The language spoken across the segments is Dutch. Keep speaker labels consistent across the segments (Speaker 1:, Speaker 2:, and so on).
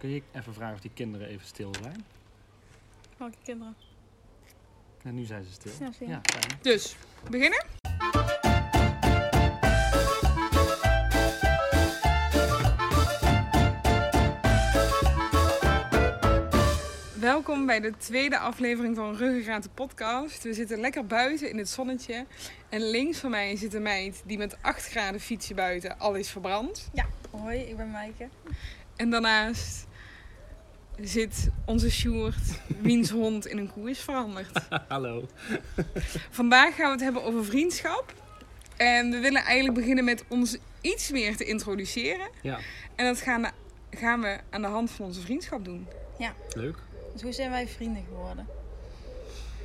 Speaker 1: Kun je even vragen of die kinderen even stil zijn?
Speaker 2: Welke kinderen?
Speaker 1: En Nou, nu zijn ze stil.
Speaker 2: Ja, zie je.
Speaker 1: Ja, fijn.
Speaker 3: Dus, beginnen? Welkom bij de tweede aflevering van Ruggengraat de podcast. We zitten lekker buiten in het zonnetje. En links van mij zit een meid die met 8 graden fietsen buiten al is verbrand.
Speaker 2: Hoi, ik ben Maaike.
Speaker 3: En daarnaast zit onze Sjoerd, wiens hond in een koe is veranderd.
Speaker 1: Hallo.
Speaker 3: Vandaag gaan we het hebben over vriendschap. En we willen eigenlijk beginnen met ons iets meer te introduceren.
Speaker 1: Ja,
Speaker 3: En dat gaan we, gaan we aan de hand van onze vriendschap doen.
Speaker 1: leuk.
Speaker 2: Dus hoe zijn wij vrienden geworden?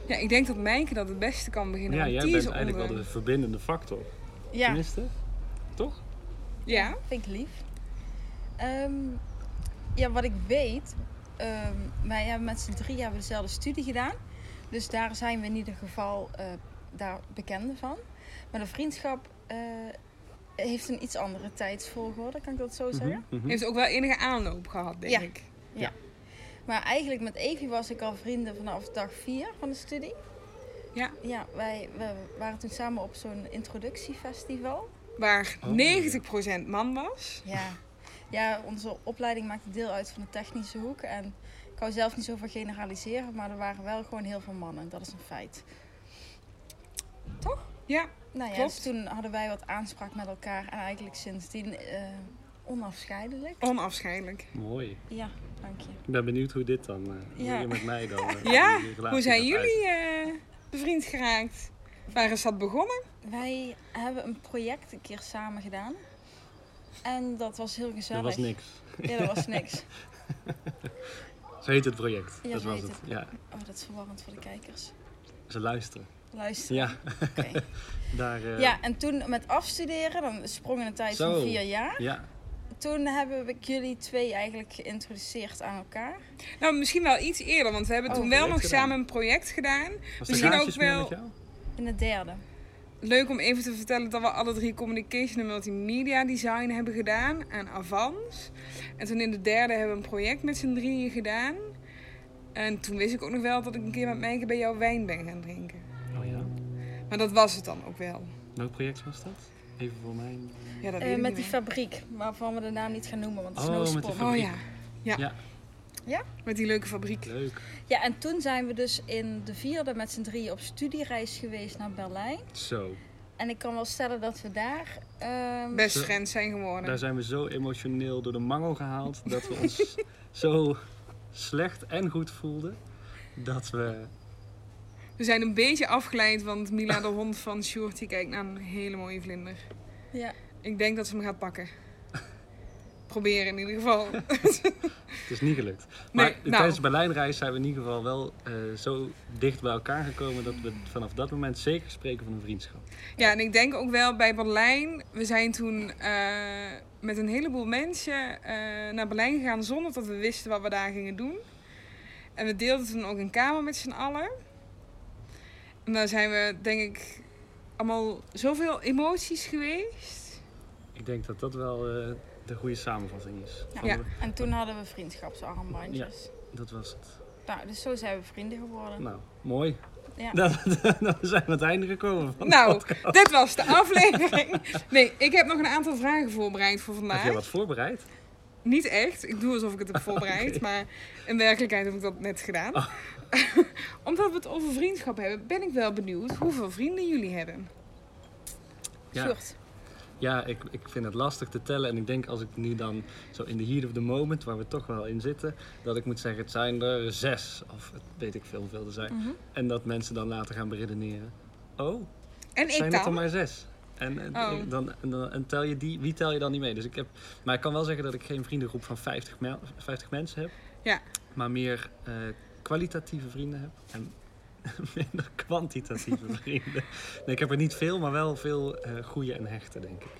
Speaker 3: Ja, ik denk dat Mijnke dat het beste kan beginnen.
Speaker 1: Ja,
Speaker 3: want
Speaker 1: jij
Speaker 3: die
Speaker 1: bent
Speaker 3: is
Speaker 1: eigenlijk wel
Speaker 3: onder-
Speaker 1: de verbindende factor.
Speaker 2: Ja,
Speaker 1: Tenminste, toch? Mhm.
Speaker 3: Ja,
Speaker 2: vind ik lief. Ehm, ja, wat ik weet, ehm, wij hebben met z'n drie hebben we dezelfde studie gedaan. Dus daar zijn we in ieder geval eh, daar bekende van. Maar de vriendschap eh, heeft een iets andere tijdsvolgorde, kan ik dat zo zeggen?
Speaker 1: Mhm, mhm.
Speaker 3: heeft ook wel enige aanloop gehad, denk
Speaker 2: Ja.
Speaker 3: ik.
Speaker 2: Maar eigenlijk met Evie was ik al vrienden vanaf dag 4 van de studie.
Speaker 3: Ja.
Speaker 2: Ja, wij we waren toen samen op zo'n introductiefestival.
Speaker 3: Waar
Speaker 1: Oh.
Speaker 3: 90% man was.
Speaker 2: Ja. Ja, onze opleiding maakte deel uit van de technische hoek. En ik hou zelf niet zoveel generaliseren, maar er waren wel gewoon heel veel mannen. Dat is een feit.
Speaker 3: Ja,
Speaker 2: Nou ja,
Speaker 3: Klopt.
Speaker 2: dus toen hadden wij wat aanspraak met elkaar. En eigenlijk sindsdien eh, onafscheidelijk.
Speaker 3: onafscheidelijk.
Speaker 1: Mooi.
Speaker 2: Ja, dank je.
Speaker 1: Ik ben benieuwd hoe dit dan, eh, hoe
Speaker 2: Ja.
Speaker 1: je met mij dan... eh,
Speaker 3: Ja,
Speaker 1: je relatie
Speaker 3: Hoe zijn
Speaker 1: gaat uit.
Speaker 3: jullie eh, bevriend geraakt? Waar is dat begonnen?
Speaker 2: Wij hebben een project een keer samen gedaan. En dat was heel
Speaker 1: Dat
Speaker 2: gezellig.
Speaker 1: was niks.
Speaker 2: Ja, dat was niks.
Speaker 1: Zo heet het project.
Speaker 2: Ja,
Speaker 1: dat
Speaker 2: zo
Speaker 1: was
Speaker 2: heet
Speaker 1: het. Ja,
Speaker 2: Oh, dat is verwarrend voor de kijkers.
Speaker 1: ze luisteren.
Speaker 2: Luister.
Speaker 1: Ja,
Speaker 2: Oké.
Speaker 1: daar... eh,
Speaker 2: Ja, en toen met afstuderen, dan sprong in een tijd
Speaker 1: Zo.
Speaker 2: van vier jaar.
Speaker 1: ja.
Speaker 2: Toen hebben we jullie twee eigenlijk geïntroduceerd aan elkaar.
Speaker 3: Nou, misschien wel iets eerder, want we hebben
Speaker 1: Oh,
Speaker 3: toen wel
Speaker 1: leuk
Speaker 3: nog
Speaker 1: gedaan.
Speaker 3: samen een project gedaan.
Speaker 1: Was er
Speaker 3: Misschien ook
Speaker 1: gaatjes meer met
Speaker 3: wel-
Speaker 1: jou?
Speaker 2: In de derde.
Speaker 3: Leuk om even te vertellen dat we alle drie communication en multimedia design hebben gedaan aan Avans. En toen in de derde hebben we een project met z'n drieën gedaan. En toen wist ik ook nog wel dat ik een keer met Mijke bij jou wijn ben gaan drinken.
Speaker 1: Oh ja.
Speaker 3: Maar dat was het dan ook wel.
Speaker 1: Welk project was dat? Even voor mij.
Speaker 3: Ja, dat
Speaker 2: Eh,
Speaker 3: weet ik
Speaker 2: met
Speaker 3: niet
Speaker 2: die
Speaker 3: meer.
Speaker 2: fabriek, waarvan we de naam niet gaan noemen, want het is
Speaker 1: Oh,
Speaker 2: no
Speaker 1: met die
Speaker 2: spon.
Speaker 1: fabriek.
Speaker 3: Oh ja. ja.
Speaker 1: Ja.
Speaker 2: Ja?
Speaker 3: Met die leuke fabriek.
Speaker 1: Leuk.
Speaker 2: Ja, en toen zijn we dus in de vierde met z'n drieën op studiereis geweest naar Berlijn.
Speaker 1: Zo.
Speaker 2: En ik kan wel stellen dat we daar... ehm,
Speaker 3: Best
Speaker 1: Zo-
Speaker 3: friends zijn geworden.
Speaker 1: Daar zijn we zo emotioneel door de mangel gehaald dat we ons zo slecht en goed voelden. Dat we.
Speaker 3: We zijn een beetje afgeleid, want Mila de hond van Sjoerd die kijkt naar een hele mooie vlinder.
Speaker 2: Ja.
Speaker 3: Ik denk dat ze hem gaat pakken. Proberen in ieder geval.
Speaker 1: Het is niet gelukt. Maar
Speaker 3: nou.
Speaker 1: tijdens de Berlijnreis zijn we in ieder geval wel eh, zo dicht bij elkaar gekomen dat we vanaf dat moment zeker spreken van een vriendschap.
Speaker 3: Ja, en ik denk ook wel bij Berlijn. We zijn toen eh, met een heleboel mensen eh, naar Berlijn gegaan zonder dat we wisten wat we daar gingen doen. En we deelden toen ook een kamer met z'n allen. En daar zijn we, denk ik, allemaal zoveel emoties geweest.
Speaker 1: Ik denk dat dat wel eh, de goede samenvatting is.
Speaker 2: Ja.
Speaker 1: Van
Speaker 3: Ja.
Speaker 1: de-
Speaker 2: En toen hadden we vriendschapsarmbandjes.
Speaker 1: Dat was het.
Speaker 2: Nou, dus zo zijn we vrienden geworden.
Speaker 1: Nou, mooi.
Speaker 2: Ja.
Speaker 1: Dan, dan zijn we aan het einde gekomen. Van
Speaker 3: Nou, dit was de aflevering. Nee, ik heb nog een aantal vragen voorbereid voor
Speaker 1: Heb jij
Speaker 3: vandaag.
Speaker 1: wat voorbereid?
Speaker 3: Niet echt. Ik doe alsof ik het
Speaker 1: Ah,
Speaker 3: heb voorbereid. Maar in werkelijkheid heb ik dat net gedaan. Omdat we het over vriendschap hebben, ben ik wel benieuwd hoeveel vrienden jullie hebben.
Speaker 1: Ja,
Speaker 2: Sjoerd.
Speaker 1: ja ik, ik vind het lastig te tellen. En ik denk als ik nu dan zo in de heat of the moment, waar we toch wel in zitten, dat ik moet zeggen, het zijn er zes. Of het weet ik veel hoeveel er zijn.
Speaker 2: Mhm.
Speaker 1: En dat mensen dan later gaan beredeneren. Oh,
Speaker 3: En ik
Speaker 1: zijn het er
Speaker 3: dan.
Speaker 1: maar zes? En, en,
Speaker 3: Oh.
Speaker 1: dan, en, dan, en tel je die, wie tel je dan niet mee? Dus ik heb, maar ik kan wel zeggen dat ik geen vriendengroep van 50, mel- 50 mensen heb.
Speaker 3: Ja.
Speaker 1: Maar meer eh, kwalitatieve vrienden heb. En minder kwantitatieve vrienden. Nee, ik heb er niet veel, maar wel veel eh goede en hechte, denk ik.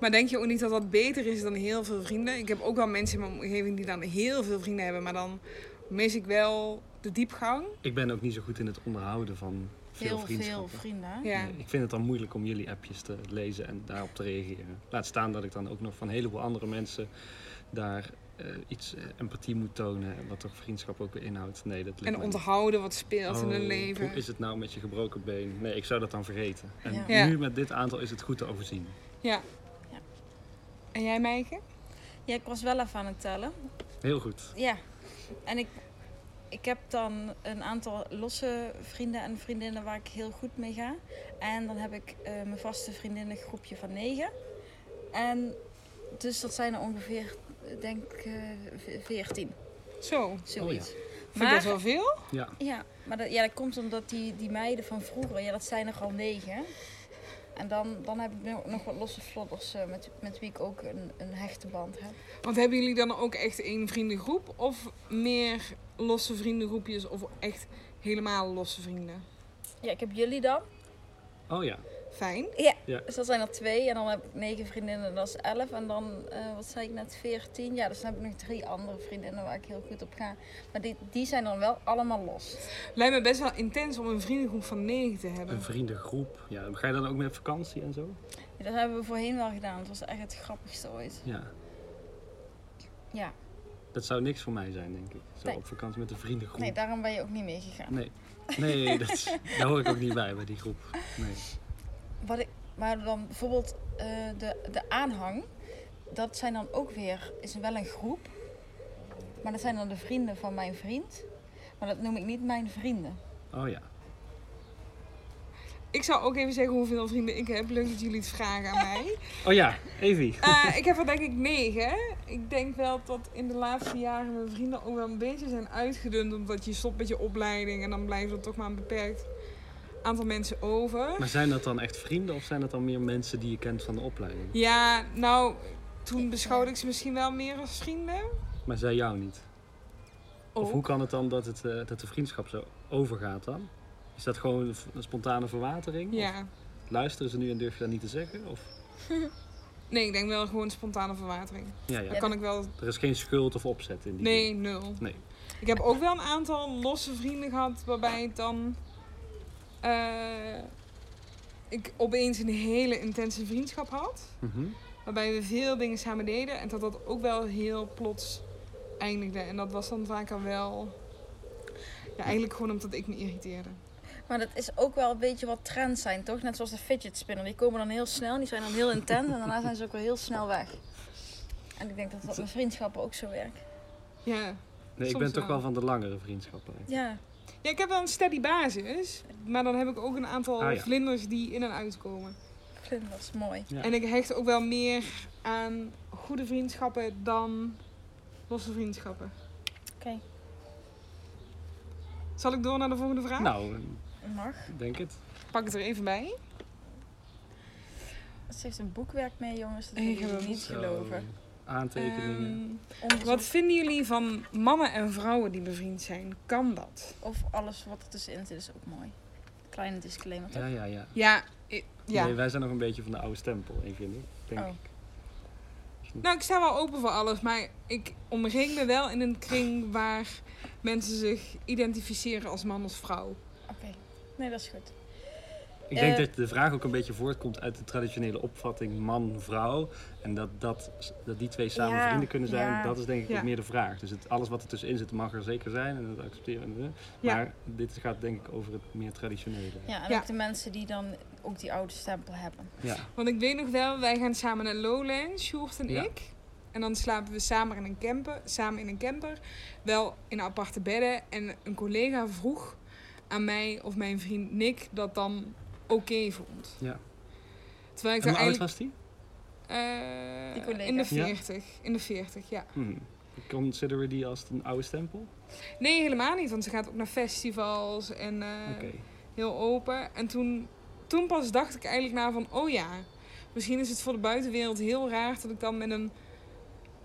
Speaker 3: Maar denk je ook niet dat dat beter is dan heel veel vrienden? Ik heb ook wel mensen in mijn omgeving die dan heel veel vrienden hebben. Maar dan mis ik wel de diepgang.
Speaker 1: Ik ben ook niet zo goed in het onderhouden van veel
Speaker 2: Heel veel
Speaker 1: vriendschappen.
Speaker 2: vrienden. hè?
Speaker 3: Ja.
Speaker 1: Nee, ik vind het dan moeilijk om jullie appjes te lezen en daarop te reageren. Laat staan dat ik dan ook nog van een heleboel andere mensen daar eh, iets eh, empathie moet tonen, wat toch vriendschap ook weer inhoudt. Nee, dat lijkt
Speaker 3: En
Speaker 1: mij niet.
Speaker 3: onthouden wat speelt in hun
Speaker 1: Oh,
Speaker 3: leven.
Speaker 1: Hoe is het nou met je gebroken been? Nee, ik zou dat dan vergeten. En
Speaker 2: Ja.
Speaker 3: Ja.
Speaker 1: nu met dit aantal is het goed te overzien.
Speaker 3: Ja.
Speaker 2: Ja.
Speaker 3: En jij, Meike?
Speaker 2: Ja, ik was wel even aan het tellen.
Speaker 1: Heel goed.
Speaker 2: Ja, en ik, ik heb dan een aantal losse vrienden en vriendinnen waar ik heel goed mee ga. En dan heb ik eh, mijn vaste vriendinnengroepje van negen. En dus dat zijn er ongeveer, eh, denk ik, veertien,
Speaker 3: Zo.
Speaker 2: zoiets.
Speaker 3: Oh Vind ik dat wel veel?
Speaker 1: Ja,
Speaker 2: Ja, maar dat, ja, dat komt omdat die, die meiden van vroeger, ja, dat zijn er al negen. En dan, dan heb ik nog- nog wat losse vlodders eh, met, met wie ik ook een, een hechte band heb.
Speaker 3: Want hebben jullie dan ook echt één vriendengroep? Of meer losse vriendengroepjes? Of echt helemaal losse vrienden?
Speaker 2: Ja, ik heb jullie dan.
Speaker 1: oh ja.
Speaker 3: Fijn.
Speaker 2: Dus dat zijn er twee. En dan heb ik negen vriendinnen, dat is elf. En dan, eh, wat zei ik net, veertien. Ja, dus dan heb ik nog drie andere vriendinnen waar ik heel goed op ga. Maar die, die zijn dan wel allemaal los.
Speaker 3: Lijkt me best wel intens om een vriendengroep van negen te hebben.
Speaker 1: Een vriendengroep. Ja, ga je dan ook mee op vakantie en zo?
Speaker 2: Ja, dat hebben we voorheen wel gedaan. Dat was echt het grappigste ooit.
Speaker 1: Ja.
Speaker 2: Ja.
Speaker 1: Dat zou niks voor mij zijn, denk ik. Zo
Speaker 2: Nee.
Speaker 1: op vakantie met een vriendengroep.
Speaker 2: Nee, daarom ben je ook niet meegegaan.
Speaker 1: Nee, nee dat, is- daar hoor ik ook niet bij, bij die groep. Nee.
Speaker 2: Wat ik, maar dan bijvoorbeeld eh, de, de aanhang. Dat zijn dan ook weer, is wel een groep. Maar dat zijn dan de vrienden van mijn vriend. Maar dat noem ik niet mijn vrienden.
Speaker 1: Oh ja.
Speaker 3: Ik zou ook even zeggen hoeveel vrienden ik heb. Leuk dat jullie het vragen aan mij.
Speaker 1: Oh ja, Evie.
Speaker 3: Eh, ik heb er denk ik negen. Ik denk wel dat in de laatste jaren mijn vrienden ook wel een beetje zijn uitgedund. Omdat je stopt met je opleiding en dan blijft er toch maar een beperkt aantal mensen over.
Speaker 1: Maar zijn dat dan echt vrienden of zijn dat dan meer mensen die je kent van de opleiding?
Speaker 3: Ja, nou, toen beschouwde ik ze misschien wel meer als vrienden.
Speaker 1: Maar zij jou niet? Of
Speaker 3: Ook.
Speaker 1: hoe kan het dan dat, het, eh, dat de vriendschap zo overgaat dan? Is dat gewoon een v- een spontane verwatering? Of
Speaker 3: Ja.
Speaker 1: Luisteren ze nu en durf je dat niet te zeggen? Of?
Speaker 3: Nee, ik denk wel gewoon spontane verwatering.
Speaker 1: Ja,
Speaker 3: Dan
Speaker 1: ja.
Speaker 3: kan ik wel...
Speaker 1: Er is geen schuld of opzet in die
Speaker 3: Nee, nul.
Speaker 1: Nee.
Speaker 3: Ik heb ook wel een aantal losse vrienden gehad waarbij het dan... eh, ik opeens een hele intense vriendschap had.
Speaker 1: Mhm.
Speaker 3: Waarbij we veel dingen samen deden en dat dat ook wel heel plots eindigde. En dat was dan vaak al wel. Ja, eigenlijk gewoon omdat ik me irriteerde.
Speaker 2: Maar dat is ook wel een beetje wat trends zijn, toch? Net zoals de fidget spinner. Die komen dan heel snel, die zijn dan heel intens en daarna zijn ze ook weer heel snel weg. En ik denk dat dat met vriendschappen ook zo werkt.
Speaker 3: Ja.
Speaker 1: Nee, ik
Speaker 3: Soms
Speaker 1: ben toch
Speaker 3: wel.
Speaker 1: wel van de langere vriendschappen. eigenlijk.
Speaker 2: Ja,
Speaker 3: ja, ik heb wel een steady basis, maar dan heb ik ook een aantal
Speaker 1: Ah, ja.
Speaker 3: vlinders die in en uitkomen.
Speaker 2: ik vind dat is mooi.
Speaker 1: Ja.
Speaker 3: En ik hecht ook wel meer aan goede vriendschappen dan losse vriendschappen.
Speaker 2: Oké.
Speaker 3: Zal ik door naar de volgende vraag?
Speaker 1: Nou,
Speaker 2: Mag.
Speaker 1: ik denk het.
Speaker 3: Pak het er even bij.
Speaker 2: Ze heeft een boekwerk mee, jongens. Dat
Speaker 3: Ik
Speaker 2: wil
Speaker 3: heb
Speaker 2: je
Speaker 3: hem.
Speaker 2: niet
Speaker 1: Zo,
Speaker 2: geloven.
Speaker 1: Aantekeningen.
Speaker 3: Ehm,
Speaker 2: Onderzoek
Speaker 3: wat vinden jullie van mannen en vrouwen die bevriend zijn? Kan dat?
Speaker 2: Of alles wat er tussenin zit is ook mooi. Kleine disclaimer, toch?
Speaker 1: ja, ja, ja.
Speaker 3: Ja, i- ja.
Speaker 1: Nee, wij zijn nog een beetje van de oude stempel, Evie en ik. Denk
Speaker 2: Oh.
Speaker 1: ik.
Speaker 3: Nou, ik sta wel open voor alles, maar ik omring me wel in een kring waar mensen zich identificeren als man of vrouw.
Speaker 2: Oké. Nee, dat is goed.
Speaker 1: Ik denk
Speaker 2: Eh.
Speaker 1: dat de vraag ook een beetje voortkomt uit de traditionele opvatting man-vrouw. En dat, dat, dat die twee samen
Speaker 2: Ja,
Speaker 1: vrienden kunnen zijn,
Speaker 2: ja.
Speaker 1: dat is denk ik
Speaker 3: Ja.
Speaker 1: ook meer de vraag. Dus het, alles wat er tussenin zit mag er zeker zijn en dat accepteren we.
Speaker 3: Ja.
Speaker 1: Maar dit gaat denk ik over het meer traditionele.
Speaker 2: Ja, en
Speaker 3: Ja.
Speaker 2: ook de mensen die dan ook die oude stempel hebben.
Speaker 1: Ja.
Speaker 3: Want ik weet nog wel, wij gaan samen naar Lowlands, Sjoerd en
Speaker 1: Ja.
Speaker 3: ik. En dan slapen we samen in, een camper, samen in een camper, wel in aparte bedden. En een collega vroeg aan mij of mijn vriend Nick dat dan oké vond.
Speaker 1: Ja.
Speaker 3: Terwijl ik
Speaker 1: En
Speaker 3: daar
Speaker 1: hoe oud
Speaker 3: eigenlijk...
Speaker 1: was die?
Speaker 3: eh,
Speaker 2: Die collega.
Speaker 3: in de
Speaker 1: Ja.
Speaker 3: 40. In de 40, ja.
Speaker 1: Hmm. Consideren we die als een oude stempel?
Speaker 3: Nee, helemaal niet, want ze gaat ook naar festivals en... eh,
Speaker 1: Oké.
Speaker 3: heel open. En toen, toen pas dacht ik eigenlijk na van, oh ja, misschien is het voor de buitenwereld heel raar dat ik dan met een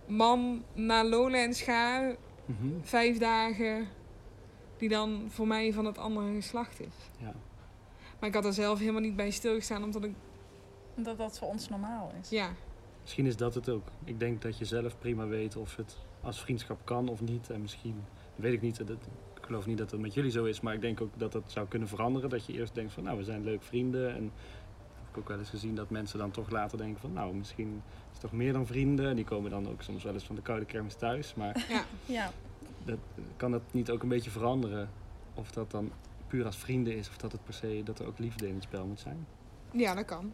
Speaker 3: man naar Lowlands ga,
Speaker 1: Mhm.
Speaker 3: vijf dagen, die dan voor mij van het andere geslacht is.
Speaker 1: Ja.
Speaker 3: Maar ik had er zelf helemaal niet bij stilgestaan, omdat ik,
Speaker 2: Omdat dat voor ons normaal is.
Speaker 3: ja,
Speaker 1: Misschien is dat het ook. Ik denk dat je zelf prima weet of het als vriendschap kan of niet. En misschien, weet ik niet, dat, ik geloof niet dat dat met jullie zo is. Maar ik denk ook dat dat zou kunnen veranderen. Dat je eerst denkt van, nou, we zijn leuk vrienden. En ik ook wel eens gezien dat mensen dan toch later denken van nou, misschien is het toch meer dan vrienden. En die komen dan ook soms wel eens van de koude kermis thuis. Maar
Speaker 2: Ja,
Speaker 1: dat, kan dat niet ook een beetje veranderen? Of dat dan puur als vrienden is of dat het per se dat er ook liefde in het spel moet zijn?
Speaker 3: Ja, dat kan.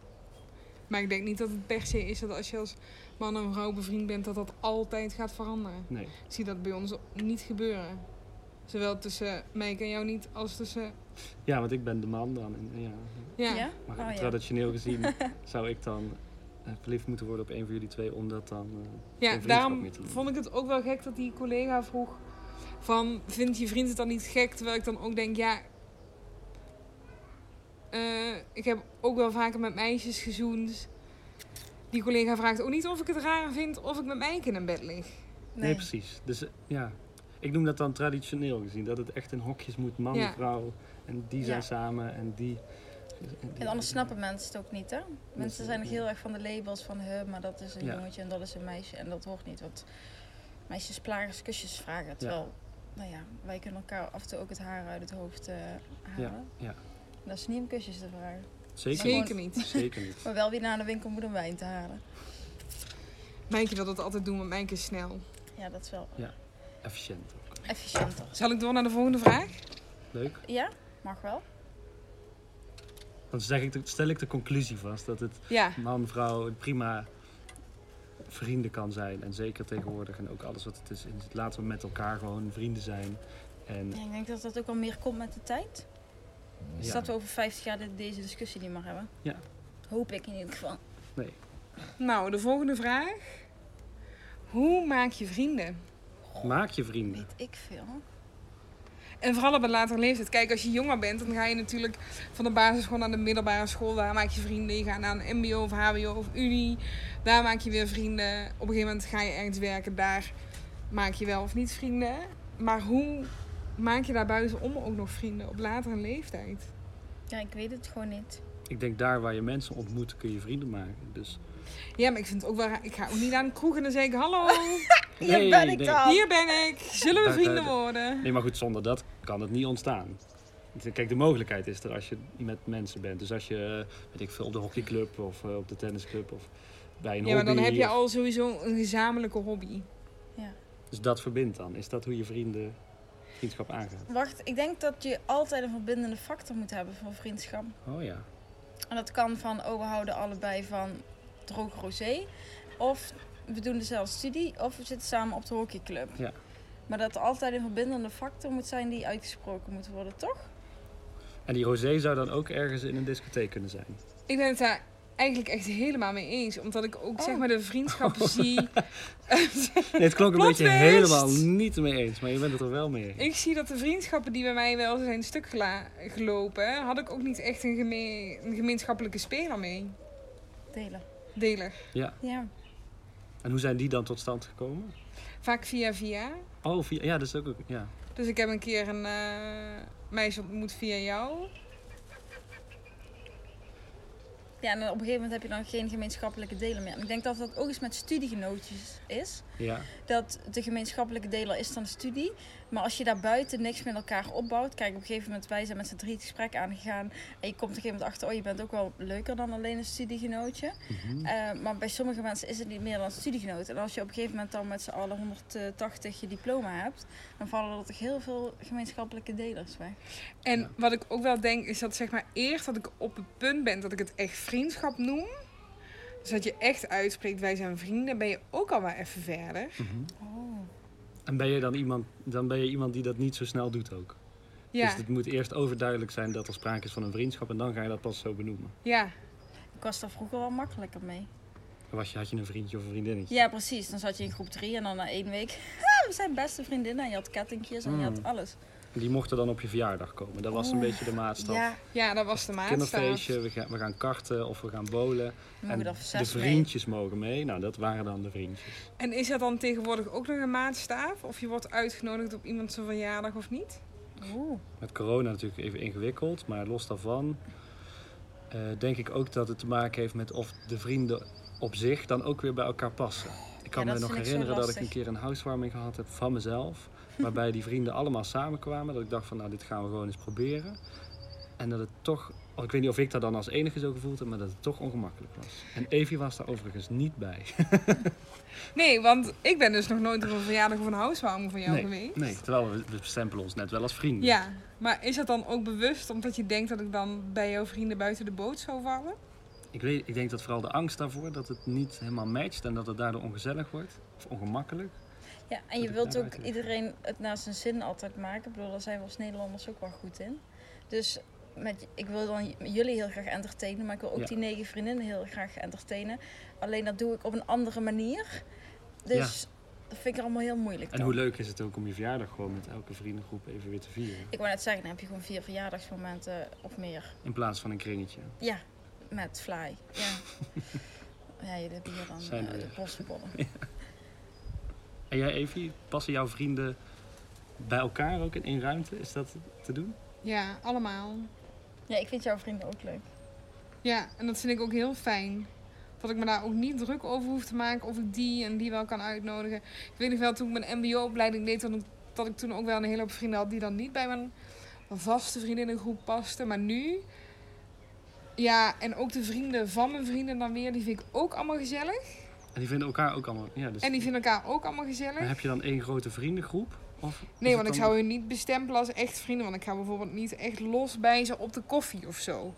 Speaker 3: Maar ik denk niet dat het per se is dat als je als man en vrouw bevriend bent, dat dat altijd gaat veranderen.
Speaker 1: Nee.
Speaker 3: Ik zie dat bij ons niet gebeuren. Zowel tussen mij en jou niet, als tussen...
Speaker 1: Ja, want ik ben de man dan. En, en ja.
Speaker 3: Ja,
Speaker 2: ja?
Speaker 1: Maar
Speaker 2: Oh, ja.
Speaker 1: traditioneel gezien zou ik dan eh, verliefd moeten worden op een van jullie twee, omdat dan. eh,
Speaker 3: Ja,
Speaker 1: vriendschap
Speaker 3: daarom
Speaker 1: meer te doen.
Speaker 3: vond ik het ook wel gek dat die collega vroeg van, vindt je vriend het dan niet gek? Terwijl ik dan ook denk, ja... eh, ik heb ook wel vaker met meisjes gezoend. Die collega vraagt ook niet of ik het raar vind of ik met mijn kind in bed lig.
Speaker 1: nee. precies. Dus eh, ja, ik noem dat dan traditioneel gezien, dat het echt in hokjes moet, man
Speaker 3: Ja.
Speaker 1: en vrouw. En die zijn
Speaker 2: Ja.
Speaker 1: samen en die.
Speaker 2: En anders snappen mensen het ook niet, hè? Mensen zijn nog heel erg van de labels van, hè, maar dat is een
Speaker 1: Ja.
Speaker 2: jongetje en dat is een meisje en dat hoort niet. Want meisjes plagers kusjes vragen, terwijl, nou ja, wij kunnen elkaar af en toe ook het haar uit het hoofd eh, halen.
Speaker 1: ja.
Speaker 2: En Dat is niet om kusjes te vragen.
Speaker 1: Zeker,
Speaker 2: Zeker.
Speaker 1: niet.
Speaker 3: niet.
Speaker 1: Zeker niet.
Speaker 2: Maar wel weer naar de winkel moet om wijn te halen.
Speaker 3: Mijnke wil dat altijd doen, want Mijnke is snel.
Speaker 2: Ja, dat is wel
Speaker 1: Efficiënt ook.
Speaker 2: efficiënter.
Speaker 3: Zal ik door naar de volgende vraag?
Speaker 1: Leuk.
Speaker 2: Ja, mag wel.
Speaker 1: Dan zeg ik de- stel ik de conclusie vast dat het
Speaker 3: Ja.
Speaker 1: man, vrouw prima vrienden kan zijn. En zeker tegenwoordig en ook alles wat het is. in- Laten we met elkaar gewoon vrienden zijn. En
Speaker 2: Ja, ik denk dat dat ook al meer komt met de tijd. Dus
Speaker 1: ja.
Speaker 2: dat we over 50 jaar dit- deze discussie niet meer hebben.
Speaker 1: Ja.
Speaker 2: Hoop ik in ieder geval.
Speaker 1: Nee.
Speaker 3: Nou, de volgende vraag. Hoe maak je vrienden?
Speaker 1: Maak je vrienden.
Speaker 2: Weet ik veel.
Speaker 3: En vooral op een latere leeftijd. Kijk, als je jonger bent, dan ga je natuurlijk van de basisschool naar de middelbare school. Daar maak je vrienden. Je gaat naar een mbo of hbo of unie. Daar maak je weer vrienden. Op een gegeven moment ga je ergens werken. Daar maak je wel of niet vrienden. Maar hoe maak je daar buitenom ook nog vrienden op latere leeftijd?
Speaker 2: Ja, ik weet het gewoon niet.
Speaker 1: Ik denk daar waar je mensen ontmoet kun je vrienden maken. Dus
Speaker 3: Ja, maar ik vind het ook wel raar. Ik ga ook niet aan de kroeg en dan zeg ik hallo.
Speaker 2: Hier ben ik dan.
Speaker 3: Hier ben ik. Zullen we
Speaker 1: Daar-
Speaker 3: vrienden
Speaker 1: daar-
Speaker 3: worden?
Speaker 1: Nee, maar goed, zonder dat kan het niet ontstaan. Kijk, de mogelijkheid is er als je met mensen bent. Dus als je, eh, weet ik veel, op de hockeyclub of eh, op de tennisclub of bij een
Speaker 3: Ja, maar dan
Speaker 1: hobby.
Speaker 3: heb je al sowieso een gezamenlijke hobby.
Speaker 1: Dus dat verbindt dan. Is dat hoe je vrienden vriendschap aangaat?
Speaker 2: Wacht, ik denk dat je altijd een verbindende factor moet hebben voor vriendschap.
Speaker 1: Oh ja.
Speaker 2: En dat kan van, oh, we houden allebei van droog rosé. Of we doen dezelfde studie. Of we zitten samen op de hockeyclub.
Speaker 1: Ja.
Speaker 2: Maar dat er altijd een verbindende factor moet zijn die uitgesproken moet worden, toch?
Speaker 1: En die rosé zou dan ook ergens in een discotheek kunnen zijn.
Speaker 3: Ik ben het daar eigenlijk echt helemaal mee eens. Omdat ik ook zeg
Speaker 2: Oh.
Speaker 3: maar de vriendschappen zie.
Speaker 1: Nee, het klonk een beetje
Speaker 3: Plotwist!
Speaker 1: helemaal niet mee eens, maar je bent het er wel mee eens.
Speaker 3: ik zie dat de vriendschappen die bij mij wel zijn stuk gela- gelopen, had ik ook niet echt een, geme- een gemeenschappelijke speler mee.
Speaker 2: Delen.
Speaker 3: Delen.
Speaker 2: Ja.
Speaker 1: En hoe zijn die dan tot stand gekomen?
Speaker 3: Vaak via via.
Speaker 1: Oh, via- ja, dat is ook... ook- Ja.
Speaker 3: Dus ik heb een keer een eh, meisje ontmoet via jou.
Speaker 2: Ja, en op een gegeven moment heb je dan geen gemeenschappelijke delen meer. En ik denk dat dat ook eens met studiegenootjes is.
Speaker 1: ja.
Speaker 2: Dat de gemeenschappelijke deler is dan de studie. Maar als je daar buiten niks met elkaar opbouwt. Kijk, op een gegeven moment, wij zijn met z'n drie het gesprek aangegaan. En je komt op een gegeven moment achter, oh, je bent ook wel leuker dan alleen een studiegenootje.
Speaker 1: Mhm.
Speaker 2: Eh, maar bij sommige mensen is het niet meer dan een studiegenoot. En als je op een gegeven moment dan met z'n allen 180 je diploma hebt. Dan vallen er toch heel veel gemeenschappelijke delers weg.
Speaker 3: En
Speaker 1: Ja.
Speaker 3: wat ik ook wel denk is dat zeg maar eerst dat ik op het punt ben dat ik het echt vriendschap noem. Dus dat je echt uitspreekt, wij zijn vrienden, ben je ook al wel even verder.
Speaker 1: Mhm.
Speaker 2: Oh.
Speaker 1: En ben je dan iemand, dan ben je iemand die dat niet zo snel doet ook?
Speaker 3: Ja,
Speaker 1: Dus het moet eerst overduidelijk zijn dat er sprake is van een vriendschap en dan ga je dat pas zo benoemen.
Speaker 3: ja.
Speaker 2: Ik was daar vroeger wel makkelijker mee.
Speaker 1: Dan Was je, had je een vriendje of een vriendinnetje?
Speaker 2: Ja, precies. Dan zat je in groep 3 en dan na één week. "Ha, we zijn beste vriendinnen. En je had kettingjes en je had
Speaker 1: Mm.
Speaker 2: alles.
Speaker 1: Die mochten dan op je verjaardag komen. Dat was een
Speaker 2: Oeh,
Speaker 1: beetje de maatstaf.
Speaker 2: Ja,
Speaker 3: ja, dat was de maatstaf.
Speaker 1: Kinderfeestje, we gaan, we gaan karten of we gaan bowlen.
Speaker 2: mogen er
Speaker 1: de
Speaker 2: zes mee.
Speaker 1: vriendjes mogen mee. Nou, dat waren dan de vriendjes.
Speaker 3: En is dat dan tegenwoordig ook nog een maatstaaf? Of je wordt uitgenodigd op iemand zijn verjaardag of niet?
Speaker 2: Oeh.
Speaker 1: Met corona natuurlijk even ingewikkeld, maar los daarvan eh, denk ik ook dat het te maken heeft met of de vrienden op zich dan ook weer bij elkaar passen. Ik kan me
Speaker 2: Ja, dat
Speaker 1: nog
Speaker 2: vind ik zo
Speaker 1: herinneren dat ik
Speaker 2: lastig.
Speaker 1: een keer een housewarming gehad heb van mezelf, waarbij die vrienden allemaal samenkwamen. Dat ik dacht van nou, dit gaan we gewoon eens proberen. En dat het toch, oh, ik weet niet of ik dat dan als enige zo gevoeld heb, maar dat het toch ongemakkelijk was. En Evie was daar overigens niet bij.
Speaker 3: Nee, want ik ben dus nog nooit op een verjaardag of een housewarming van jou
Speaker 1: Nee,
Speaker 3: geweest.
Speaker 1: nee, terwijl we, we stempelen ons net wel als vrienden.
Speaker 3: Ja, maar is dat dan ook bewust omdat je denkt dat ik dan bij jouw vrienden buiten de boot zou vallen?
Speaker 1: Ik, weet, ik denk dat vooral de angst daarvoor, dat het niet helemaal matcht en dat het daardoor ongezellig wordt. Of ongemakkelijk.
Speaker 2: Ja, en
Speaker 1: Dat
Speaker 2: je
Speaker 1: ik
Speaker 2: wilt ook
Speaker 1: daaruit lig.
Speaker 2: iedereen het naar zijn zin altijd maken. Ik bedoel, daar zijn we als Nederlanders ook wel goed in. Dus met, ik wil dan j- jullie heel graag entertainen, maar ik wil ook
Speaker 1: Ja.
Speaker 2: die negen vriendinnen heel graag entertainen. Alleen dat doe ik op een andere manier. Dus dat vind ik allemaal heel moeilijk.
Speaker 1: En
Speaker 2: dan.
Speaker 1: hoe leuk is het ook om je verjaardag gewoon met elke vriendengroep even weer te vieren.
Speaker 2: Ik wou net zeggen, dan heb je gewoon vier verjaardagsmomenten of meer.
Speaker 1: In plaats van een kringetje.
Speaker 2: Ja, met Fly. Ja, ja jullie hebben hier dan
Speaker 1: Zijn
Speaker 2: eh,
Speaker 1: er
Speaker 2: de
Speaker 1: weer.
Speaker 2: bossenbollen.
Speaker 1: En jij Evie, passen jouw vrienden bij elkaar ook in één ruimte? Is dat te doen?
Speaker 3: Ja, allemaal.
Speaker 2: Ja, ik vind jouw vrienden ook leuk.
Speaker 3: Ja, en dat vind ik ook heel fijn. Dat ik me daar ook niet druk over hoef te maken of ik die en die wel kan uitnodigen. Ik weet nog wel, toen ik mijn mbo-opleiding deed, dat ik, dat ik toen ook wel een hele hoop vrienden had die dan niet bij mijn vaste vriendinnengroep pasten. Maar nu, ja, en ook de vrienden van mijn vrienden dan weer, die vind ik ook allemaal gezellig.
Speaker 1: En die vinden elkaar ook allemaal... Ja, dus,
Speaker 3: En die vinden elkaar ook allemaal
Speaker 1: maar
Speaker 3: gezellig.
Speaker 1: heb je dan één grote vriendengroep? Of is
Speaker 3: Nee,
Speaker 1: het
Speaker 3: want ik
Speaker 1: dan-
Speaker 3: zou hun niet bestempelen als echt vrienden. Want ik ga bijvoorbeeld niet echt los bij ze op de koffie of zo.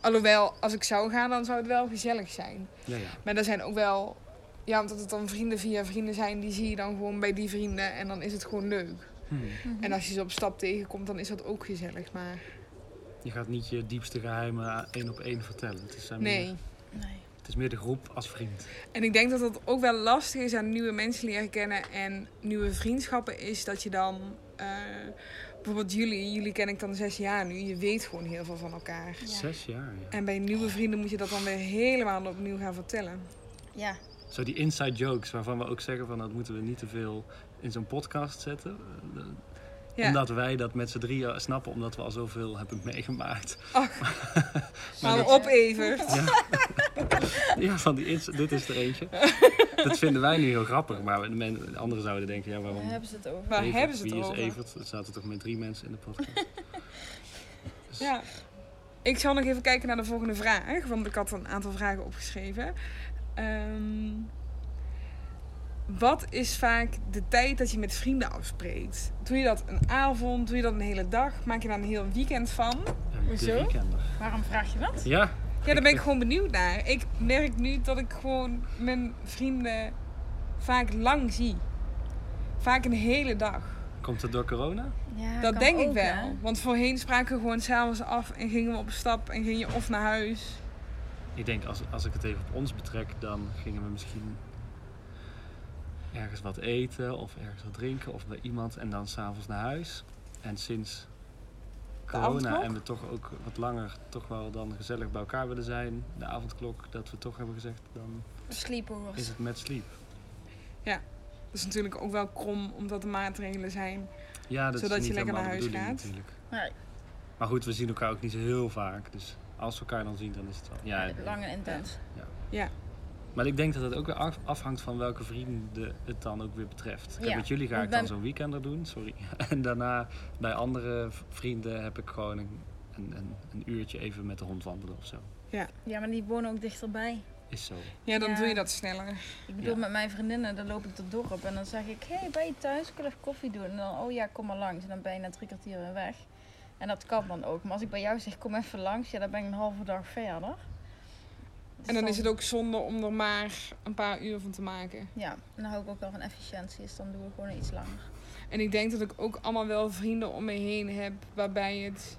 Speaker 3: Alhoewel, als ik zou gaan, dan zou het wel gezellig zijn.
Speaker 1: Ja, ja.
Speaker 3: Maar er zijn ook wel... Ja, omdat het dan vrienden via vrienden zijn, die zie je dan gewoon bij die vrienden. En dan is het gewoon leuk.
Speaker 1: Hmm.
Speaker 3: En als je ze op stap tegenkomt, dan is dat ook gezellig. Maar
Speaker 1: Je gaat niet je diepste geheimen één op één vertellen. Het is, zijn meer-
Speaker 3: nee.
Speaker 2: Nee.
Speaker 1: het is meer de groep als vriend.
Speaker 3: En ik denk dat dat ook wel lastig is aan nieuwe mensen leren kennen en nieuwe vriendschappen is dat je dan... eh, bijvoorbeeld jullie, jullie ken ik dan zes jaar nu. Je weet gewoon heel veel van elkaar.
Speaker 2: Ja.
Speaker 1: Zes jaar, ja.
Speaker 3: En bij nieuwe vrienden moet je dat dan weer helemaal opnieuw gaan vertellen.
Speaker 2: Ja,
Speaker 1: Zo die inside jokes waarvan we ook zeggen van dat moeten we niet te veel in zo'n podcast zetten. Eh,
Speaker 3: Ja.
Speaker 1: Omdat wij dat met z'n drieën snappen, omdat we al zoveel hebben meegemaakt.
Speaker 3: Hou
Speaker 2: dat-
Speaker 3: op even.
Speaker 1: Ja, van die ins- dit is er eentje. dat vinden wij nu heel grappig, maar de men- anderen zouden denken, ja
Speaker 2: daar
Speaker 1: waarom...
Speaker 2: hebben ze het over.
Speaker 3: Waar
Speaker 1: Evert,
Speaker 3: hebben ze het
Speaker 1: wie
Speaker 3: over?
Speaker 1: is Evert? Er zaten toch met drie mensen in de podcast.
Speaker 3: Ja. Ik zal nog even kijken naar de volgende vraag, want ik had een aantal vragen opgeschreven. Ehm, wat is vaak de tijd dat je met vrienden afspreekt? Doe je dat een avond? Doe je dat een hele dag? Maak je daar een heel weekend van?
Speaker 1: En de
Speaker 2: Hoezo?
Speaker 1: weekender.
Speaker 2: Waarom vraag je dat?
Speaker 1: Ja,
Speaker 3: Ja, daar ben ik gewoon benieuwd naar. Ik merk nu dat ik gewoon mijn vrienden vaak lang zie. Vaak een hele dag.
Speaker 1: komt het door corona?
Speaker 2: Ja,
Speaker 3: Dat
Speaker 2: kan
Speaker 3: denk ik
Speaker 2: ook,
Speaker 3: wel.
Speaker 2: hè.
Speaker 3: Want voorheen spraken we gewoon s'avonds af en gingen we op stap en ging je of naar huis.
Speaker 1: Ik denk, als, als ik het even op ons betrek, dan gingen we misschien ergens wat eten of ergens wat drinken of bij iemand en dan s'avonds naar huis. En sinds corona
Speaker 3: avondklok?
Speaker 1: en we toch ook wat langer toch wel dan gezellig bij elkaar willen zijn, de avondklok, dat we toch hebben gezegd, dan is
Speaker 2: Sleepovers.
Speaker 1: het met sleep.
Speaker 3: Dat is natuurlijk ook wel krom omdat er maatregelen zijn.
Speaker 1: Ja, dat
Speaker 3: Zodat
Speaker 1: is
Speaker 3: je
Speaker 1: niet
Speaker 3: lekker
Speaker 1: helemaal
Speaker 3: naar
Speaker 1: de
Speaker 3: huis
Speaker 1: bedoeling
Speaker 3: gaat.
Speaker 1: natuurlijk.
Speaker 2: Nee,
Speaker 1: Maar goed, we zien elkaar ook niet zo heel vaak, dus als we elkaar dan zien, dan is het wel. Ja, het-
Speaker 2: lang en eh, intens.
Speaker 1: Maar ik denk dat het ook weer af- afhangt van welke vrienden het dan ook weer betreft. Kijk,
Speaker 2: Ja,
Speaker 1: met jullie ga
Speaker 2: want
Speaker 1: ik dan
Speaker 2: bij-
Speaker 1: zo'n weekender doen, sorry. En daarna bij andere v- vrienden heb ik gewoon een, een, een, een uurtje even met de hond wandelen of zo.
Speaker 2: Ja, maar die wonen ook dichterbij.
Speaker 1: Is zo.
Speaker 3: Ja, dan
Speaker 2: Ja.
Speaker 3: doe je dat sneller.
Speaker 2: Ik bedoel,
Speaker 1: Ja.
Speaker 2: met mijn vriendinnen, dan loop ik door het dorp en dan zeg ik, hé, hey, ben je thuis? Ik wil even koffie doen. En dan, oh ja, kom maar langs. En dan ben je na drie kwartier weer weg. En dat kan dan ook. Maar als ik bij jou zeg, kom even langs, ja, dan ben ik een halve dag verder. Dus
Speaker 3: En dan is het ook zonde om er maar een paar uur van te maken.
Speaker 2: Ja, en dan hou ik ook wel van efficiëntie, dus dan doen we gewoon iets langer.
Speaker 3: En ik denk dat ik ook allemaal wel vrienden om me heen heb waarbij het,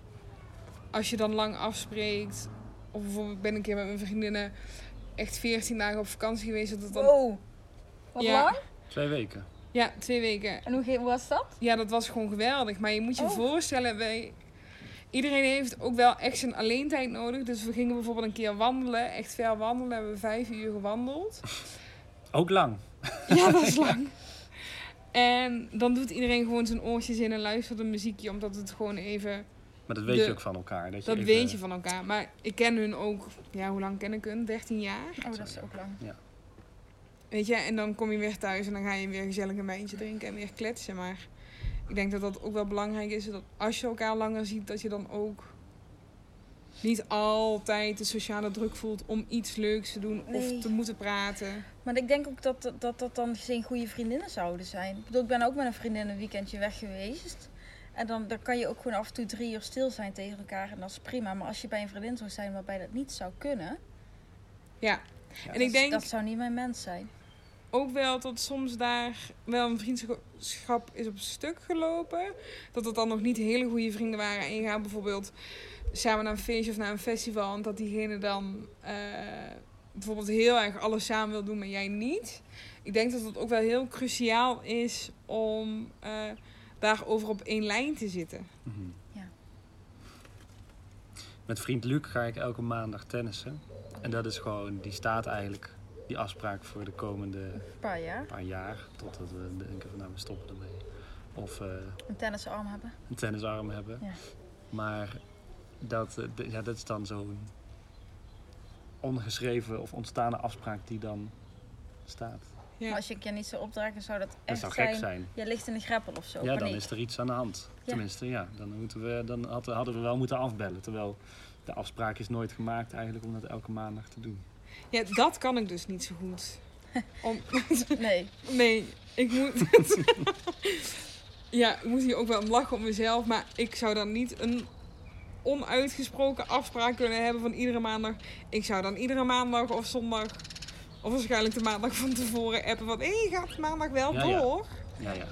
Speaker 3: als je dan lang afspreekt, of bijvoorbeeld ik ben een keer met mijn vriendinnen echt 14 dagen op vakantie geweest, dat het Dus dan.
Speaker 2: Wow! Wat
Speaker 3: Ja.
Speaker 2: lang?
Speaker 1: Twee weken.
Speaker 3: Ja, twee weken.
Speaker 2: En hoe ge- hoe was dat?
Speaker 3: Ja, dat was gewoon geweldig. Maar je moet je
Speaker 2: Oh.
Speaker 3: voorstellen, wij, iedereen heeft ook wel echt zijn alleentijd nodig. Dus we gingen bijvoorbeeld een keer wandelen, echt ver wandelen. Hebben we vijf uur gewandeld.
Speaker 1: Ook lang.
Speaker 3: Ja, dat is lang. En dan doet iedereen gewoon zijn oortjes in en luistert een muziekje, omdat het gewoon even...
Speaker 1: Maar dat weet
Speaker 3: De-
Speaker 1: je ook van elkaar. Dat, je
Speaker 3: Dat
Speaker 1: even-
Speaker 3: weet je van elkaar. Maar ik ken hun ook, ja, hoe lang ken ik hun? 13 jaar.
Speaker 2: Oh, dat is ook lang.
Speaker 3: Weet je, en dan kom je weer thuis en dan ga je weer gezellig een wijntje drinken en weer kletsen. Maar ik denk dat dat ook wel belangrijk is, dat als je elkaar langer ziet, dat je dan ook niet altijd de sociale druk voelt om iets leuks te doen
Speaker 2: Nee.
Speaker 3: of te moeten praten.
Speaker 2: Maar ik denk ook dat dat, dat dat dan geen goede vriendinnen zouden zijn. Ik bedoel, ik ben ook met een vriendin een weekendje weg geweest. En dan, dan kan je ook gewoon af en toe drie uur stil zijn tegen elkaar. En dat is prima. Maar als je bij een vriendin zou zijn waarbij dat niet zou kunnen.
Speaker 3: Ja. en
Speaker 2: dat-
Speaker 3: ik denk
Speaker 2: Dat zou niet mijn mens zijn.
Speaker 3: ook wel dat soms daar wel een vriendschap is op stuk gelopen. Dat het dan nog niet hele goede vrienden waren. En je gaat bijvoorbeeld samen naar een feestje of naar een festival. En dat diegene dan eh, bijvoorbeeld heel erg alles samen wil doen, maar jij niet. Ik denk dat het ook wel heel cruciaal is om eh daarover op één lijn te zitten.
Speaker 1: Mhm.
Speaker 2: Ja.
Speaker 1: Met vriend Luc ga ik elke maandag tennissen. En dat is gewoon, die staat eigenlijk, die afspraak voor de komende
Speaker 2: Een paar jaar.
Speaker 1: paar jaar. Totdat we denken van nou, we stoppen ermee. Of eh,
Speaker 2: Een tennisarm hebben.
Speaker 1: een tennisarm hebben.
Speaker 2: Ja.
Speaker 1: Maar dat, eh, d- ja, dat is dan zo'n ongeschreven of ontstaande afspraak die dan staat.
Speaker 2: Maar
Speaker 3: Ja.
Speaker 2: als je een keer niet zou opdragen, zou dat
Speaker 1: Dat
Speaker 2: echt
Speaker 1: zou
Speaker 2: zijn.
Speaker 1: gek zijn.
Speaker 2: Je ligt in de greppel of zo.
Speaker 1: Ja, dan
Speaker 2: paniek.
Speaker 1: is er iets aan de hand.
Speaker 2: Ja.
Speaker 1: Tenminste, ja, dan, moeten we, dan had- hadden we wel moeten afbellen. Terwijl de afspraak is nooit gemaakt eigenlijk om dat elke maandag te doen.
Speaker 3: ja, dat kan ik dus niet zo goed. Om,
Speaker 2: Nee.
Speaker 3: Nee, ik moet. ja, ik moet hier ook wel om lachen om mezelf. Maar ik zou dan niet een onuitgesproken afspraak kunnen hebben van iedere maandag. Ik zou dan iedere maandag of zondag. Of waarschijnlijk de maandag van tevoren appen van... Hé, gaat maandag wel
Speaker 1: Ja, ja.
Speaker 3: door?
Speaker 1: Ja, ja.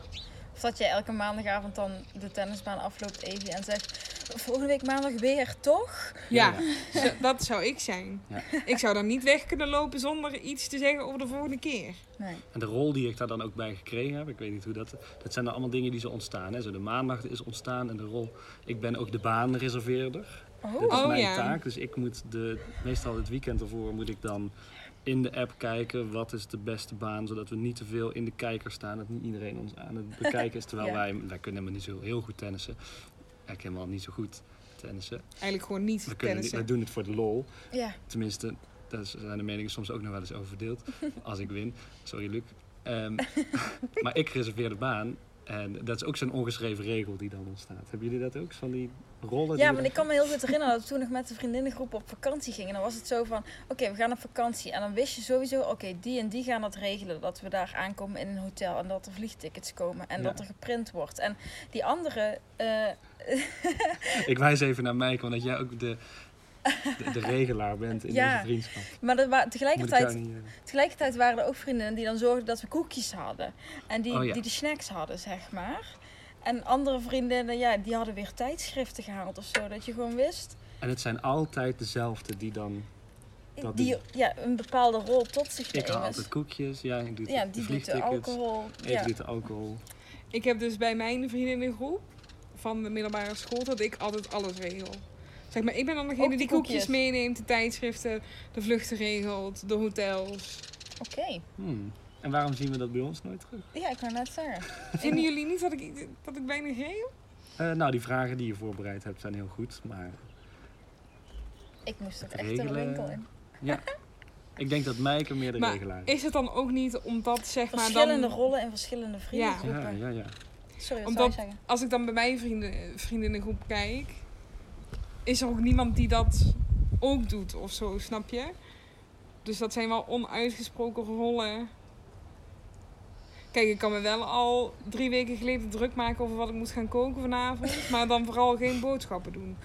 Speaker 2: Of dat je elke maandagavond dan de tennisbaan afloopt, Evie, en zegt... Volgende week maandag weer, toch?
Speaker 3: Ja, zo- dat zou ik zijn.
Speaker 1: Ja.
Speaker 3: Ik zou dan niet weg kunnen lopen zonder iets te zeggen over de volgende keer.
Speaker 2: Nee.
Speaker 1: En de rol die ik daar dan ook bij gekregen heb, ik weet niet hoe dat... Dat zijn dan allemaal dingen die zo ontstaan. Hè? Zo de maandag is ontstaan en de rol... Ik ben ook de baanreserveerder.
Speaker 2: Oh.
Speaker 1: Dat is
Speaker 3: Oh,
Speaker 1: mijn
Speaker 3: ja.
Speaker 1: taak. Dus ik moet de, meestal het weekend ervoor moet ik dan in de app kijken wat is de beste baan, zodat we niet te veel in de kijker staan, dat niet iedereen ons aan het bekijken is. Terwijl
Speaker 2: Ja.
Speaker 1: wij, wij kunnen helemaal niet zo heel goed tennissen. Eigenlijk helemaal niet zo goed tennissen.
Speaker 3: Eigenlijk gewoon
Speaker 1: We,
Speaker 3: niet
Speaker 1: kunnen, niet- we
Speaker 3: tennissen.
Speaker 1: doen het voor de lol.
Speaker 2: Ja.
Speaker 1: Tenminste, daar zijn de meningen soms ook nog wel eens over verdeeld. Als ik win. Sorry, Luc. Ehm, maar ik reserveer de baan. En dat is ook zo'n ongeschreven regel die dan ontstaat. Hebben jullie dat ook? Van die rollen? Oh, die
Speaker 2: Ja,
Speaker 1: je
Speaker 2: maar
Speaker 1: dan-
Speaker 2: ik kan me heel goed herinneren dat we toen nog met de vriendinnengroep op vakantie gingen. Dan was het zo van, oké, we gaan op vakantie. En dan wist je sowieso, oké, die en die gaan dat regelen. Dat we daar aankomen in een hotel en dat er vliegtickets komen en
Speaker 1: Ja.
Speaker 2: dat er geprint wordt. En die andere, eh,
Speaker 1: Ik wijs even naar Mike, omdat jij ook de, de, de regelaar bent in
Speaker 2: Ja.
Speaker 1: onze vriendschap.
Speaker 2: maar dat wa-
Speaker 1: Moet ik
Speaker 2: tegelijkertijd,
Speaker 1: jou niet, eh,
Speaker 2: tegelijkertijd waren er ook vriendinnen die dan zorgden dat we koekjes hadden. En die,
Speaker 1: Oh ja.
Speaker 2: die de snacks hadden, zeg maar. En andere vriendinnen, ja, die hadden weer tijdschriften gehaald of zo. Dat je gewoon wist,
Speaker 1: En het zijn altijd dezelfde die dan... Dat
Speaker 2: die
Speaker 1: doen.
Speaker 2: ja, een bepaalde rol tot zich
Speaker 1: Ik haal
Speaker 2: nemen.
Speaker 1: altijd koekjes, jij doet
Speaker 2: Ja,
Speaker 1: de
Speaker 2: die doet de
Speaker 1: vliegtickets.
Speaker 2: alcohol.
Speaker 1: Even
Speaker 2: ja.
Speaker 1: doet de alcohol.
Speaker 3: Ik heb dus bij mijn vriendinnengroep van de middelbare school dat ik altijd alles regel. Zeg maar, ik ben dan degene
Speaker 2: Ook
Speaker 3: die,
Speaker 2: die
Speaker 3: koekjes.
Speaker 2: koekjes?
Speaker 3: meeneemt, de tijdschriften, de vluchten regelt, de hotels.
Speaker 2: Oké,
Speaker 1: Hmm. En waarom zien we dat bij ons nooit terug?
Speaker 2: ja, ik wou net zeggen.
Speaker 3: Vinden jullie niet dat ik, dat ik weinig regel?
Speaker 1: Eh, nou, die vragen die je voorbereid hebt zijn heel goed, maar...
Speaker 2: Ik moest ook
Speaker 1: Het
Speaker 2: echt in de
Speaker 1: regelen.
Speaker 2: winkel in.
Speaker 1: Ja. Ik denk dat Mike meer de
Speaker 3: Maar
Speaker 1: regelaar is.
Speaker 3: Is het dan ook niet omdat, zeg maar,
Speaker 2: Verschillende
Speaker 3: dan,
Speaker 2: rollen en verschillende vriendengroepen.
Speaker 1: Ja, ja, ja.
Speaker 2: Sorry, wat zou je
Speaker 3: Omdat-
Speaker 2: zeggen?
Speaker 3: als ik dan bij mijn vrienden, vriendinnengroep kijk, is er ook niemand die dat ook doet of zo, snap je? Dus dat zijn wel onuitgesproken rollen. Kijk, ik kan me wel al drie weken geleden druk maken over wat ik moet gaan koken vanavond, maar dan vooral geen boodschappen doen.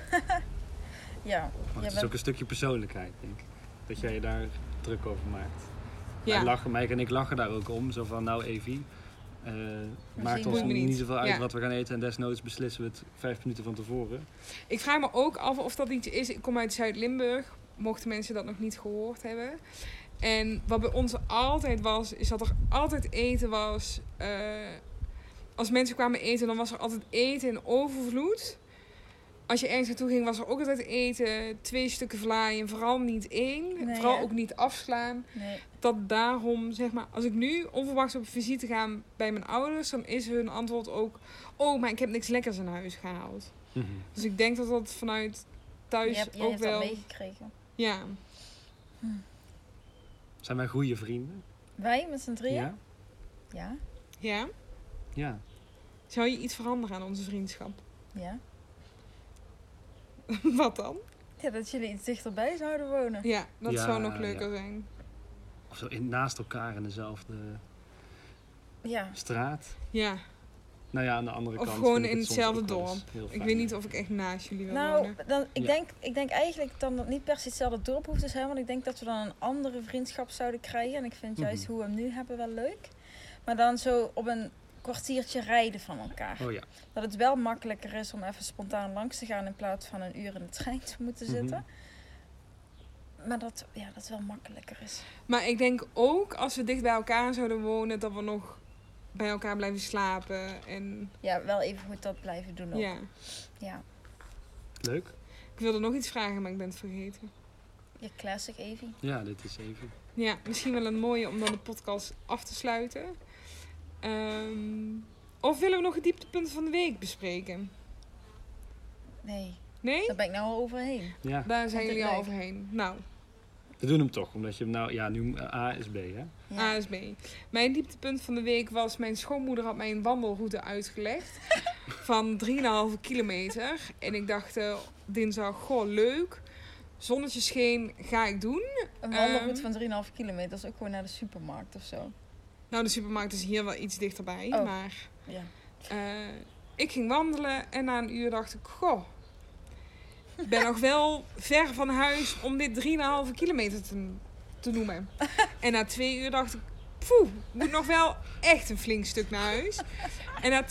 Speaker 2: Ja,
Speaker 1: Maar
Speaker 2: Jij
Speaker 1: het is
Speaker 2: bent-
Speaker 1: ook een stukje persoonlijkheid, denk ik. Dat jij je daar druk over maakt. Wij
Speaker 3: Ja,
Speaker 1: lachen, Mike en ik lachen daar ook om. Zo van, nou Evie, eh, maakt
Speaker 2: zien.
Speaker 1: ons
Speaker 3: Boeit me
Speaker 1: niet,
Speaker 3: niet.
Speaker 1: zoveel uit
Speaker 3: Ja.
Speaker 1: wat we gaan eten. En desnoods beslissen we het vijf minuten van tevoren.
Speaker 3: ik vraag me ook af of dat iets is. Ik kom uit Zuid-Limburg, mochten mensen dat nog niet gehoord hebben. En wat bij ons altijd was, is dat er altijd eten was. Eh, als mensen kwamen eten, dan was er altijd eten in overvloed. Als je ergens naartoe ging, was er ook altijd eten. Twee stukken vlaaien, vooral niet één.
Speaker 2: Nee,
Speaker 3: vooral
Speaker 2: hè?
Speaker 3: ook niet afslaan.
Speaker 2: nee.
Speaker 3: dat daarom, zeg maar, als ik nu onverwachts op visite ga bij mijn ouders, dan is hun antwoord ook: Oh, maar ik heb niks lekkers in huis gehaald.
Speaker 1: Mhm.
Speaker 3: Dus ik denk dat dat vanuit thuis
Speaker 2: je hebt, jij
Speaker 3: ook
Speaker 2: hebt
Speaker 3: wel.
Speaker 2: dat meegekregen.
Speaker 3: ja,
Speaker 1: Zijn wij goede vrienden?
Speaker 2: Wij met z'n drieën?
Speaker 1: Ja.
Speaker 2: Ja.
Speaker 3: ja.
Speaker 1: Ja.
Speaker 3: Zou je iets veranderen aan onze vriendschap?
Speaker 2: ja.
Speaker 3: Wat dan?
Speaker 2: Ja, dat jullie iets dichterbij zouden wonen.
Speaker 3: Ja, dat
Speaker 1: Ja,
Speaker 3: zou nog
Speaker 1: ja.
Speaker 3: leuker zijn.
Speaker 1: Of zo in, naast elkaar in dezelfde
Speaker 2: Ja.
Speaker 1: straat.
Speaker 3: Ja,
Speaker 1: Nou ja, aan de andere
Speaker 3: Of
Speaker 1: kant.
Speaker 3: gewoon
Speaker 1: vind ik
Speaker 3: in
Speaker 1: het soms ook
Speaker 3: hetzelfde
Speaker 1: wel eens heel
Speaker 3: ik
Speaker 1: fijn.
Speaker 3: weet niet of ik echt naast jullie wil
Speaker 2: Nou,
Speaker 3: wonen.
Speaker 2: dan, ik,
Speaker 1: Ja.
Speaker 2: denk, ik denk eigenlijk dan dat niet per se hetzelfde dorp hoeft te zijn. Want ik denk dat we dan een andere vriendschap zouden krijgen. En ik vind juist
Speaker 1: Mhm.
Speaker 2: hoe we hem nu hebben wel leuk. Maar dan zo op een kwartiertje rijden van elkaar.
Speaker 1: Oh ja.
Speaker 2: Dat het wel makkelijker is om even spontaan langs te gaan in plaats van een uur in de trein te moeten
Speaker 1: Mhm.
Speaker 2: zitten. Maar dat, ja, dat wel makkelijker is.
Speaker 3: Maar ik denk ook als we dicht bij elkaar zouden wonen, dat we nog bij elkaar blijven slapen. En
Speaker 2: Ja, wel even goed dat blijven doen. Ook. Ja.
Speaker 3: ja,
Speaker 1: Leuk.
Speaker 3: ik wilde nog iets vragen, maar ik ben het vergeten.
Speaker 2: Je classic Evie.
Speaker 1: Ja, dit is even.
Speaker 3: Ja, misschien wel een mooie om dan de podcast af te sluiten. Ehm, of willen we nog het dieptepunt van de week bespreken?
Speaker 2: Nee,
Speaker 3: Nee?
Speaker 2: daar ben ik nou al overheen.
Speaker 1: Ja,
Speaker 3: Daar zijn
Speaker 2: Dat is
Speaker 3: jullie al
Speaker 2: leuk.
Speaker 3: overheen. Nou,
Speaker 1: we doen hem toch. Omdat je hem nou... Ja, nu eh, A is B, hè?
Speaker 2: Ja.
Speaker 3: ASB. Mijn dieptepunt van de week was... Mijn schoonmoeder had mij een wandelroute uitgelegd. van 3,5 kilometer. En ik dacht eh, dinsdag, goh, leuk. Zonnetje scheen, ga ik doen.
Speaker 2: Een wandelroute
Speaker 3: Ehm.
Speaker 2: van 3,5 kilometer is ook gewoon naar de supermarkt of zo.
Speaker 3: Nou, de supermarkt is hier wel iets dichterbij.
Speaker 2: Oh.
Speaker 3: Maar
Speaker 2: Ja.
Speaker 3: eh, ik ging wandelen. En na een uur dacht ik, goh... Ik ben nog wel ver van huis om dit 3,5 kilometer te, te noemen. En na twee uur dacht ik, poeh, ik moet nog wel echt een flink stuk naar huis. En na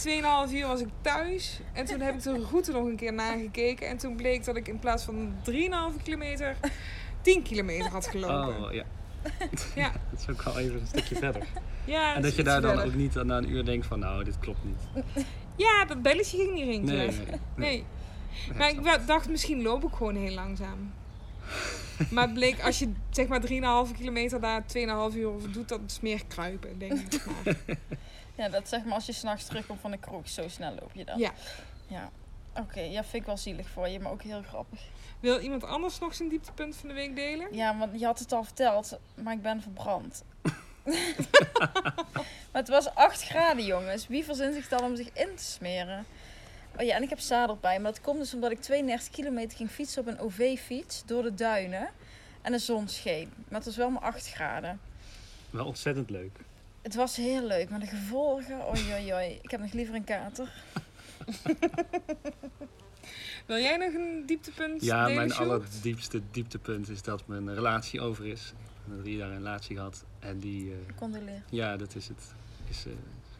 Speaker 3: 2,5 uur was ik thuis. En toen heb ik de route nog een keer nagekeken. En toen bleek dat ik in plaats van 3,5 kilometer 10 kilometer had gelopen.
Speaker 1: Oh, ja.
Speaker 3: Ja.
Speaker 1: dat is ook wel even een stukje verder.
Speaker 3: Ja,
Speaker 1: En
Speaker 3: is
Speaker 1: dat je
Speaker 3: iets
Speaker 1: daar dan
Speaker 3: verder.
Speaker 1: ook niet na een uur denkt van... Nou, dit klopt niet.
Speaker 3: Ja, dat belletje ging niet rinkelen.
Speaker 1: Nee,
Speaker 3: Nee.
Speaker 1: nee.
Speaker 3: Maar ik wa- dacht, misschien loop ik gewoon heel langzaam. Maar het bleek, als je zeg maar 3,5 kilometer daar 2,5 uur over doet, dat is meer kruipen, denk ik. Maar-
Speaker 2: ja, dat zeg maar als je s'nachts terugkomt van de kroeg, zo snel loop je dan.
Speaker 3: Ja.
Speaker 2: Ja. Oké, ja, vind ik wel zielig voor je, maar ook heel grappig.
Speaker 3: Wil iemand anders nog zijn dieptepunt van de week delen?
Speaker 2: Ja, want je had het al verteld, maar ik ben verbrand. maar het was 8 graden, jongens. Wie verzint zich dan om zich in te smeren? Oh ja, en ik heb zadelpijn. Maar dat komt dus omdat ik 32 kilometer ging fietsen op een OV-fiets door de duinen. En de zon scheen. Maar het was wel maar 8 graden.
Speaker 1: Wel ontzettend leuk.
Speaker 2: Het was heel leuk, maar de gevolgen... Oei, oei, oei. Ik heb nog liever een kater.
Speaker 3: Wil jij nog een dieptepunt
Speaker 1: Ja,
Speaker 3: delen,
Speaker 1: mijn
Speaker 3: Sjoerd?
Speaker 1: allerdiepste dieptepunt is dat mijn relatie over is. Ik heb drie jaar een relatie gehad. En die... eh,
Speaker 2: Condoleer.
Speaker 1: Ja, dat is het. Is eh,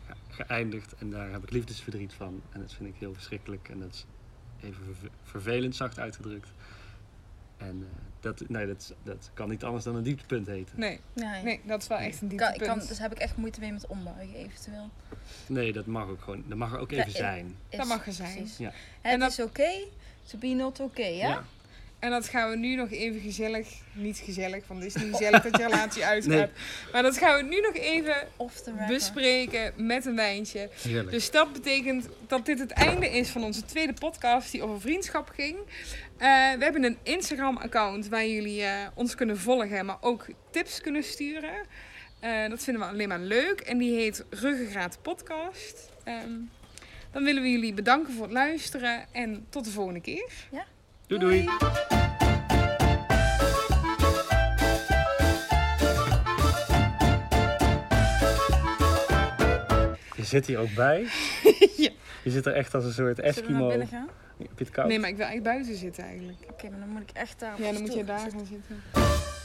Speaker 1: ge- geëindigd en daar heb ik liefdesverdriet van. En dat vind ik heel verschrikkelijk en dat is even verve- vervelend zacht uitgedrukt. En eh, dat, nee, dat, dat kan niet anders dan een dieptepunt heten.
Speaker 3: Nee,
Speaker 2: Nee.
Speaker 3: nee, dat is wel echt een
Speaker 2: Ik Kan, ik
Speaker 3: dieptepunt.
Speaker 2: kan, dus heb ik echt moeite mee met ombuigen, eventueel.
Speaker 1: Nee, dat mag ook gewoon. Dat mag er ook
Speaker 2: Ja, eh,
Speaker 1: even
Speaker 2: ja.
Speaker 1: zijn.
Speaker 2: Is-
Speaker 3: Dat mag er zijn.
Speaker 2: precies.
Speaker 1: Ja.
Speaker 2: Het
Speaker 3: En dat-
Speaker 2: is oké, to be not oké, ja?
Speaker 3: En dat gaan we nu nog even gezellig... Niet gezellig, want het is niet gezellig dat je relatie uitgaat. Maar dat gaan we nu nog even
Speaker 2: Of de rapper.
Speaker 3: bespreken met een wijntje.
Speaker 1: heerlijk.
Speaker 3: Dus dat betekent dat dit het einde is van onze tweede podcast die over vriendschap ging. Eh, we hebben een Instagram-account waar jullie eh, ons kunnen volgen, maar ook tips kunnen sturen. Eh, dat vinden we alleen maar leuk. En die heet Ruggengraat Podcast. Ehm, dan willen we jullie bedanken voor het luisteren en tot de volgende keer.
Speaker 1: Doei doei! Je zit hier ook bij.
Speaker 3: Ja.
Speaker 1: Je zit er echt als een soort
Speaker 2: Zullen we naar
Speaker 1: Eskimo.
Speaker 2: binnen gaan? Oké,
Speaker 1: Heb je het koud?
Speaker 3: Nee, maar ik wil eigenlijk buiten zitten eigenlijk.
Speaker 2: maar dan moet ik echt daar op
Speaker 3: Ja,
Speaker 2: een
Speaker 3: dan moet
Speaker 2: stoel
Speaker 3: je daar
Speaker 2: zitten.
Speaker 3: gaan zitten.